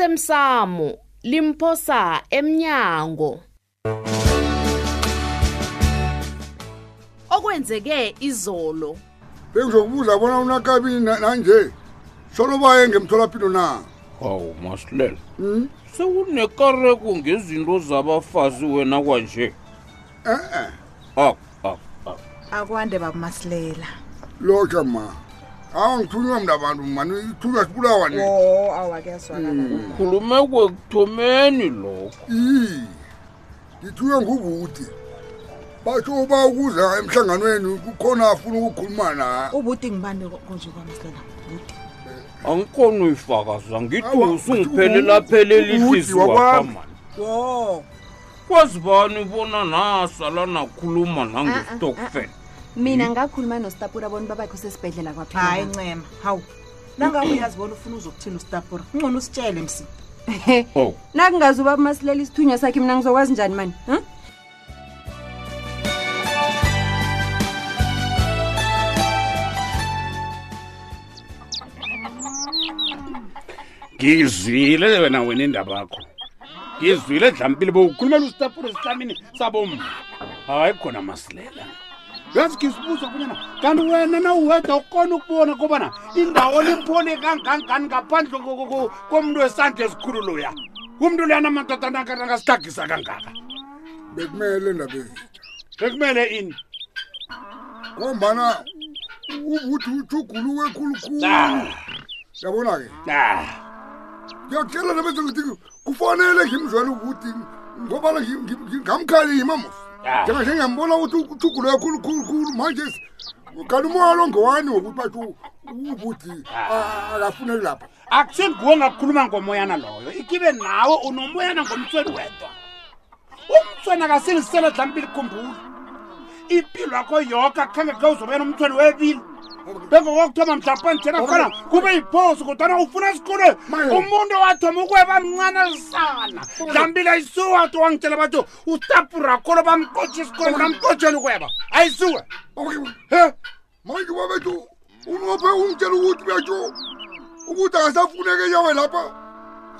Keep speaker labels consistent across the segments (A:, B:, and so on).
A: osemsamo limphosa emnyango okwenzeke izolo
B: bengizokubuza bona unakabini na- nanje solo baye ngemtholapilo na
C: hawu masilela
B: Hmm?
C: sewunekareko ngezinto zabafazi wena kwanje Ah,
B: e-e
C: ak ak ak
D: akwande babamasilela
B: lotsha ma awa ngithunywa mna abantu mani ithunywa sibulawa ni
D: o awakuyazwakala
C: khulume kwekuthomeni lokho
B: i ngithunywe ngubuti batsho ba ukuza emhlanganweni kukhona afuna ukukhuluma na
D: ubuti ngibani konje kwamasilela buti
C: angikhona uyifakaza ngithi
B: Awa,
C: usungiphelela phelela
B: uthi
C: ihliziyo
B: wakwami.
C: wakamani
D: wo
C: kwazi bani bona nasala
B: Ah,
C: nakhuluma nangestokfela
E: mina ngakhuluma nostapura bona babakho sesibhedlela
D: hayi
E: kwaphela
D: ncema hawu nangabe uyazibona ufuna uzokuthina usitapura ungcono usitshele msi
C: ow
E: nakungazi ubaba masilela isithunywa sakhe mina ngizokwazi njani mani Hm? huh?
F: ngizwile wena wena indaba yakho ngizwile dlampile bowukhulumela usitapuro esihlamini sabomma hayi khona masilela yazi ngisibuza kunyana kanti wena nawuwedwa ukhona ukubona kobana indawo liphole kangangani ngaphandle ko- ko- ko- komntu wesandla esikhulu loya umntu leyana madoda nangasitagisa kangaka
B: bekumele ndabeni
F: bekumele ini
B: ngombana ubuthi uthuguluwe khulukhulu
F: Ah,
B: yabona-ke
F: ah,
B: ngiyakutshela nabese ngithi kufanele ngimzwele ukuthi ngobana ngamkhalima mos
F: Ah.
B: njengahle ngiyambona ukuthi uthugulo yakhulukhulukhulu manje s- kanti umoya lo ngowani wokuthi batho ukuthi a- akafuneki lapha
F: akusenguwe ngakukhuluma ngomoyana loyo ikibe nawe unomoyana ngomtsweni wedwa umtsweni akasiliselo dlampile khumbula impilo yakho yoke akhange ke uzoba nomtsweni webili bengokokuthoma mhlampani thena khona kube yiphoso kodwana ufuna esikolweni
B: Mayo.
F: umuntu wathoma ukweba mncane lisana dlampile ayisuwe wato wangitshela batho utapurakholo bamqotshi esikolweni namqotshweni ukweba ayisuwe
B: Okay,
F: he
B: manje babethu unophe ungitshela ukuthi betho ukuthi akasafuneki yawe lapha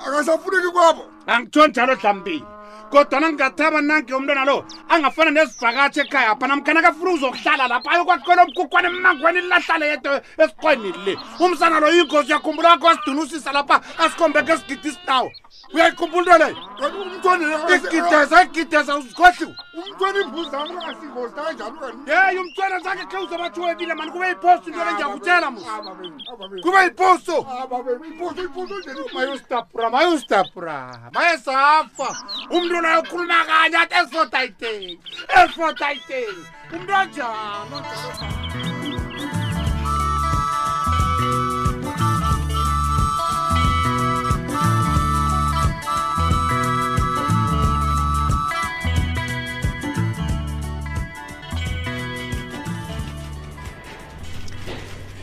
B: akasafuneki kwabo
F: angithoni njalo dlampile kodwana ngingathaba nange umntwana lo angafana nezivakatshi ekhaya pha namkhana kafuna uzokuhlala lapha ayokwaqela omkhukhwane emmangweni lahlale yedwa esiqwenini le umsana lo ingozi uyakhumbula kakho asidunusisa lapha asikhombeke esigidi isinawo uyayikhumbula into leyo
B: kanti umthwani
F: igideza igideza uzikhohliwe
B: umthwani imbuzi zami asingostanjalo kani
F: yeyi umthwena zange khe uzobathiwebile mani kube yiposto into le ngiyakutshela musa
B: mos
F: kube yiposto
B: iposo iposo nje
F: mayostapura mayostapura mayesafa umntu loyo ukhuluma kanye athi esfotayiteni esfotayiteni umntu onjani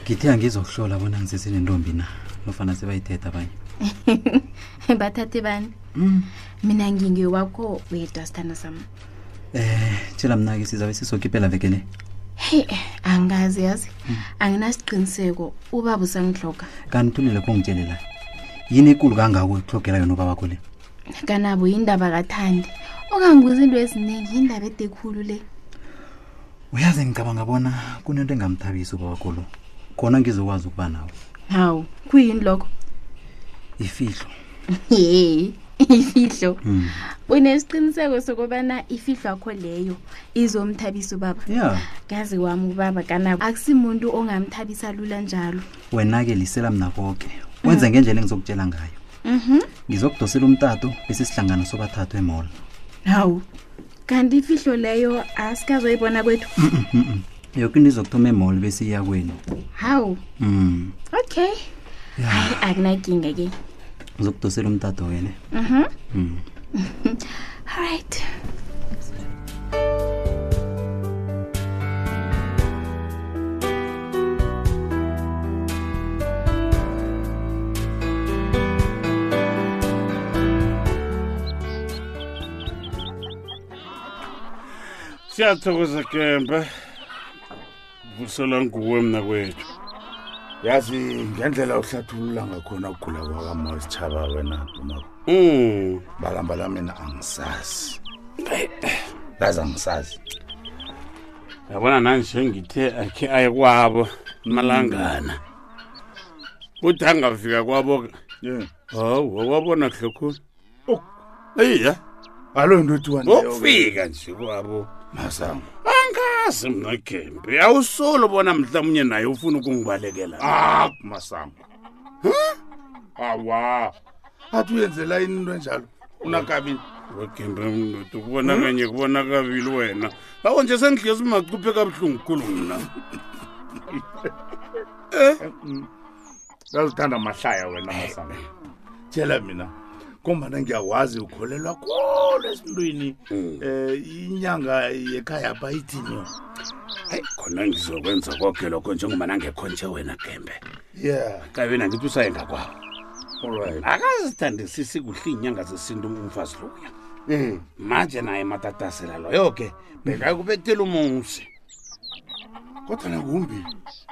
G: ngithi angizokuhlola bona ngisesenentombi na nofana sebayithetha abanye
H: bathathe bani mina ngingewakho wedwa sithanda sami
G: um tshela mna-ke sizabe sizokhiphela vekele
H: heyi angazi yazi anginasiqiniseko ubaba usangihloga
G: kanti thulele kongitshelela yini ekulu kangako ekuhlogela yona ubabakho le
H: kanabo yindaba kathandi okangibuza into eziningi yindaba edekhulu le
G: uyazi ngicabanga bona kunento engamthabisi ubabakho lo khona ngizokwazi ukuba nawe
H: hawu kuyini lokho
G: ifihlo
H: ye ifihlo
G: Mm.
H: unesiqiniseko sokubana ifihlo yakho leyo izomthabisa ubaba
G: ya
H: kazi wami ubaba kanabo akusimuntu ongamthabisa lula njalo
G: wena-ke lisela mna koke wenze ngendlela engizokutshela ngayo
H: mhm
G: ngizokudosela umtato bese sihlangana sobathathu emola
H: hawu kanti ifihlo leyo asikazoyibona kwethu
G: yoke into izokuthoma emola bese iya kwenu
H: hawu
G: um
H: okay hayi akunakinga ke
G: ngizokudosela umtato wena
H: mhm
G: um
H: alright
C: siyathokoza gembe vusela nguwe mna kwethu
B: yazi ngendlela uhlathulula ngakhona ukugula kwakamasitshaba wena dumako
F: um
B: balamba la mina angisazi lazi angisazi
F: yabona nanje ngithe akhe aye kwabo malangana uthi angafika kwabo
B: ye
F: hawu wawabona kuhlekhulu eya
B: alo ndotiwa
F: ngokufika nje kwabo
B: masango
F: angazi mna gembe awusolo bona mhlawumnye naye ufuna ukungibalekela
B: ak masango awa athi uyenzela ini into enjalo unakabini
F: wagembe mndoda kubona kanye kubona kabili wena awo nje sendihlezi macuphe kabuhlungu khulu mna
B: ngazithanda mahlaya wena masango tshela mina kombana ngiyawazi ukholelwa kolo esintwini um inyanga yekhaya apha ithini yona
F: hayi khona ngizokwenza koke lokho njengoba nangekho nje wena gembe
B: yeah
F: kabe nangithi usaye ngakwawo
B: allright
F: akazithandisisi kuhle iinyanga zesintu umfazi loya
B: um
F: manje naye matatasela loyo ke bekakubethela umuzi
B: kodwa nakumbi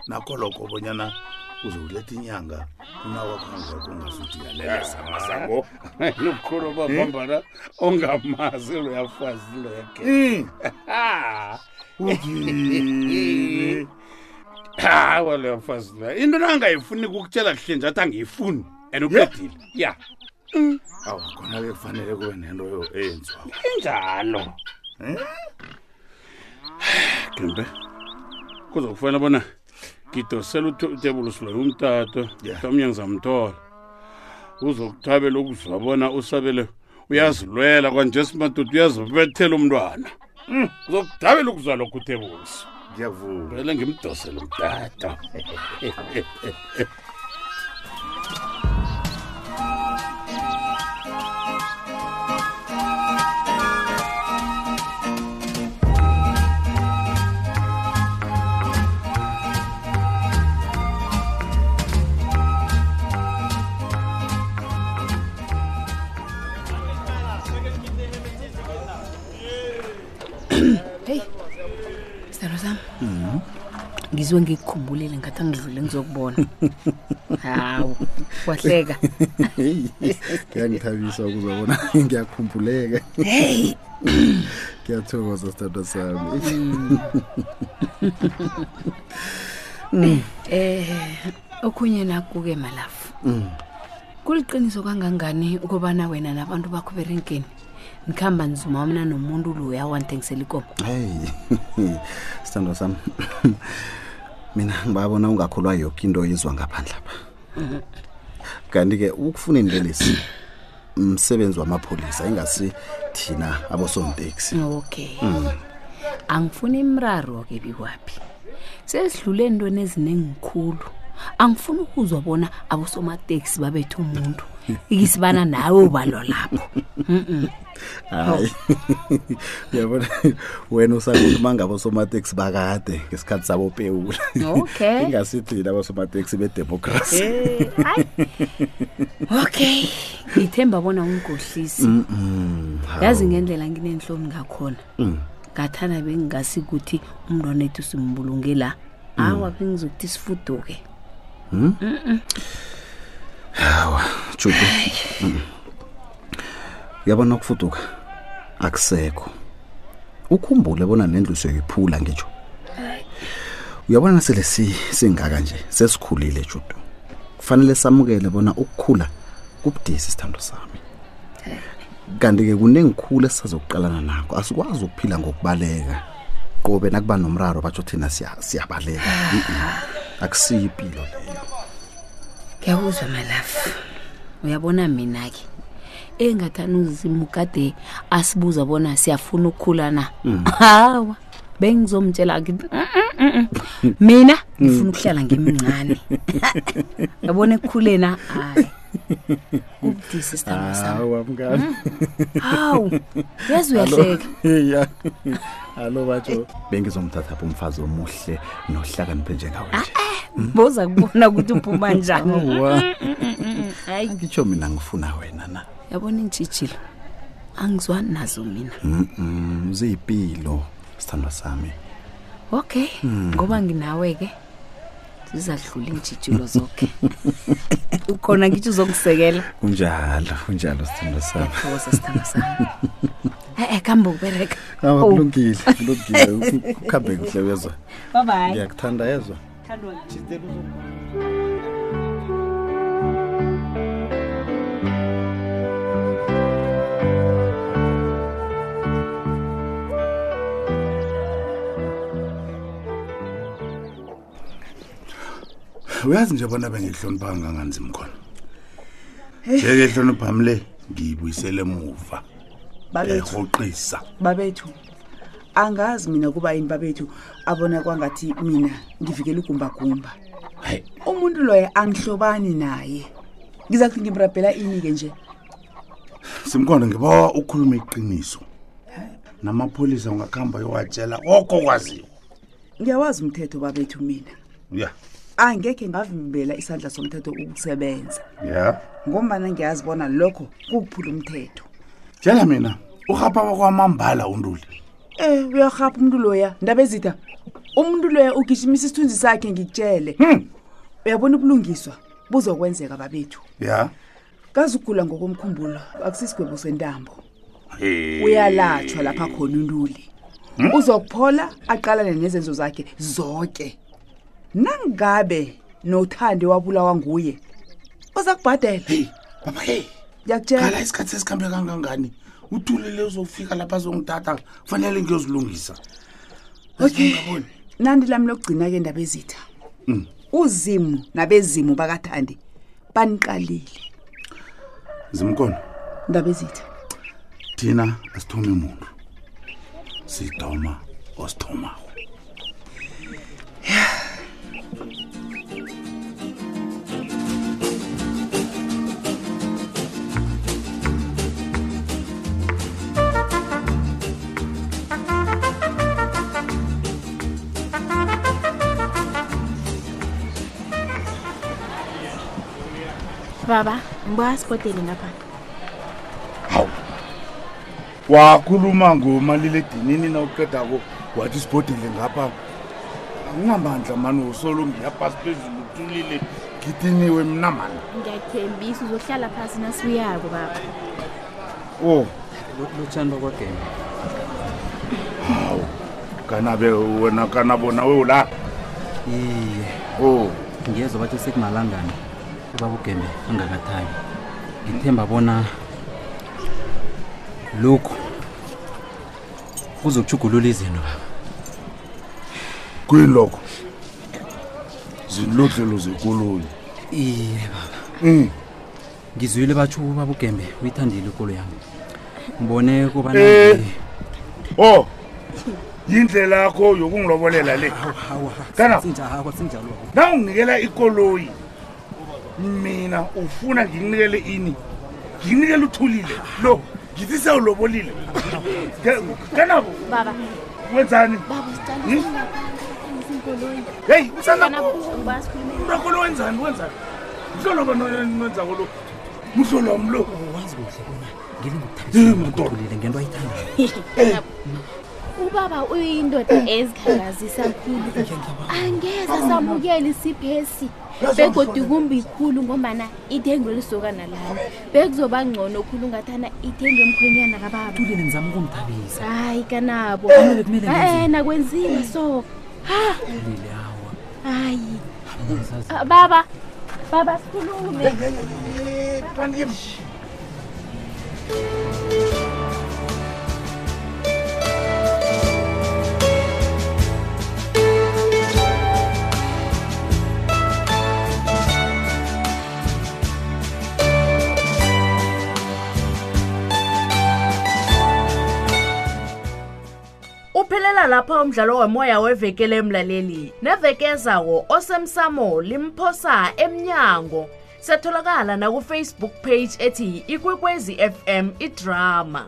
B: nakho lokho bonyana uzowuletha inyanga unawakhonza kungasuthi uyalelesa masango
F: nobukhulu babambana ongamazi loyafazi loyake
B: Mm,
F: uthi hawa loyafazi loya into nangayifuni kukutshela kuhle nje athi angiyifuni and uqedile ya
B: awu khona ke kufanele kube nento yo- eyenziwako
F: injalo
B: Eh?
F: gembe kuzokufanele bona ngidosele utebulusiloyo umtato
B: Yeah.
F: mhlawumnye ngizamthola uzokuthabela ukuzwa bona usabele uyazilwela kwanje simadoda uyazibethela umntwana uzokuthabela ukuzwa lokho utebulusi
B: ngiyavuma
F: vele ngimdosele umtata
I: sithando sami ngizwe ngikukhumbulile ngathi angidlule ngizokubona hawu wahleka
J: kuyangithabisa ukuzobona ngiyakhumbuleka ngiyathokoza sithandwa sami
I: eh okunye naku-ke malafu kuliqiniso kangangani ukubana wena nabantu bakho berenkeni nikhamba nizuma mna nomuntu loya wanthengisela ikomo
J: heyi sithandwa sami mina ngibabona ungakholwa yoke into oyizwa ngaphandle apha kanti-ke ukufuna lelesi msebenzi wamapholisa ingasi thina abosonteksi
I: okay angifuni imraro-ke bikwaphi sesidlule ntweni ezinengikhulu angifuni ukuzwa bona abosomateksi babethe umuntu ikisibana nawe ubalwa lapho
J: hayi uyabona wena usakhuluma ngabosomateksi bakade ngesikhathi sabopewula
I: okay
J: ingasi thina abosomateksi bedemokhrasi
I: Eh, hayi. okay ngithemba bona unkohlisi yazi ngendlela nginenhloni ngakhona ngathana bengingasi ukuthi umntwana ethu simbulunge la awa bengizokuthi sifuduke
J: judu Mm. uyabona ukufuduka akusekho ukhumbule bona nendlu siyoyiphula ngitsho uyabona sele si- singaka nje sesikhulile judu kufanele samukele bona ukukhula kubudisi sithando sami kanti-ke kunengikhulu esisazokuqalana nakho asikwazi ukuphila ngokubaleka qobe nakuba nomraro batsho thina siya- siyabaleka Mm-mm. akusiyo impilo leyo
I: ngiyakuzwa malafu uyabona mina-ke engathani uzimu kade asibuza bona siyafuna ukukhula na hawa bengizomtshela ngithi, "Mm, mm, mm, mm. mina ngifuna ukuhlala ngimncane yabona ekukhuleni hayi kubudisi
F: Ah.
I: sithandwa sami
J: hawa mngani
I: hawu yazi uyahleka
J: ya alo
I: Eh.
J: batsho bengizomthatha pho umfazi omuhle nohlakaniphe njengawe nje
I: Ah, eh.
J: Hmm?
I: boza kubona ukuthi uphuma njani Mm,
J: Awa,
I: hayi
J: ngitsho mina ngifuna wena na
I: yabona iintshijilo angizwani nazo mina
J: Mm, Mm-mm, ziyipilo sithandwa sami
I: okay ngoba nginawe ke zizadlula iintshijilo zoke ukhona ngitsho uzokusekela
J: kunjalo kunjalo sithando sami
I: thokoza sithanda sami e-e kambe ukubereka
J: awa
I: Oh.
J: kulungile kulungile kuhambe kuhle uyezwa
I: Bye bye.
J: ngiyakuthanda yezwa
B: uyazi nje bona bengihlonipha kanganganzi mkhona njeke hloniphami le ngiyibuyisele muva
D: babethu
B: erhoqisa
D: babethu angazi mina kuba yini babethu abona kwangathi mina ngivikela ugumbagumba umuntu loyo angihlobani naye ngiza kuthi ngimrabhela ini-ke nje
B: simkhona ngibawa ukhuluma iqiniso namapholisa ungakuhamba yowatshela oko kwaziwa
D: ngiyawazi umthetho babethu mina
B: ya
D: angekhe ngavimbela isandla somthetho ukusebenza
B: ya
D: ngombana ngiyazi bona lokho kuphula umthetho
B: tshela mina urhapha wakwamambala unduli
D: um uyarhapha umntu loya ndaba ezitha umntu loya ugijimisa isithunzi sakhe ngikutshele uyabona ubulungiswa buzokwenzeka babethu
B: ya
D: kazugula ngokomkhumbulo akusisigwebo sentambo
B: Hey.
D: uyalatshwa lapha khona untuli
B: Hmm?
D: uzokuphola aqalane nezenzo zakhe zonke nangabe nothande wabulawa nguye uza kubhadela
B: baba hey
D: ngiyakutshela
B: kala isikhathi esikhambe kangangani uthulile uzofika lapha azongitata kufanele ngiyozilungisa
D: okay nandi lami lokugcina-ke ndaba ezitha
B: Mm.
D: uzimu nabezimu bakathandi baniqalile
B: zimkhona
D: ndaba ezitha
B: thina asithome muntu sidoma osithomako
H: baba ngiba sibhodele ngapha
B: wakhuluma ngomaliledinini nawuqedako wathi sibhodile ngapha anginamandla mani usolo ngiyaphasi phezulu uthulile ngithiniwe mna mani
H: ngiyathembisa uzohlala phasi nasibuyako baba
B: o
G: lokhu lotshani bakwagema
B: kanabe wena kanabona wewula
G: iye
B: o
G: ngiyezwa batho sekumalangana ubaba ugembe angakathabi ngithemba bona lokhu kuzokuchugulula izinto baba
B: kuyini lokho zinlodlelo zekoloyi
G: iye baba
B: Mm.
G: ngizwile batsho ubaba ugembe uyithandile ikolo yami ngibone kobana
B: Eh.
G: ngi-
B: o yindlela yakho yokungilobolela le kana
G: sinjalo sinjalo baba.
B: nawunginikela ikoloyi mina ufuna ngikunikele ini ngikunikele uthulile lo ngithi sewulobolile Ke- kanabo
H: baba
B: wenzani
H: baba sicala
B: Hmm?
H: singaphangizinkoloyi
B: heyi usanaumuntu
H: ngiba sikhulume
B: wakho lo wenzani wenzani mhlolo wenzako lo mhlolo wami lo
G: Oh, wazi kuhle bona
B: Eh, madoda.
G: ngilingokuthulile ngento ayithandayo
H: ubaba uyindoda ezikhalazisa khulu angeza samukela isiphesi begodi kumbi khulu ngombana ithengo elisokana lawo bekuzoba ngcono khulu ungathana ithengo emkhwenyana kababa
G: thulile ngizama ukumthabisa
H: hayi kanabo
G: Kumele kumele ngenze.
H: Eh, nakwenziwa so ha
G: thulile awa
H: hayi Ah, baba baba sikhulume
A: uphelela lapha umdlalo womoya wevekele emlaleli neveke ezawo osemsamo limphosa emnyango setholakala nakufacebook page ethi ikwekwezi fm idrama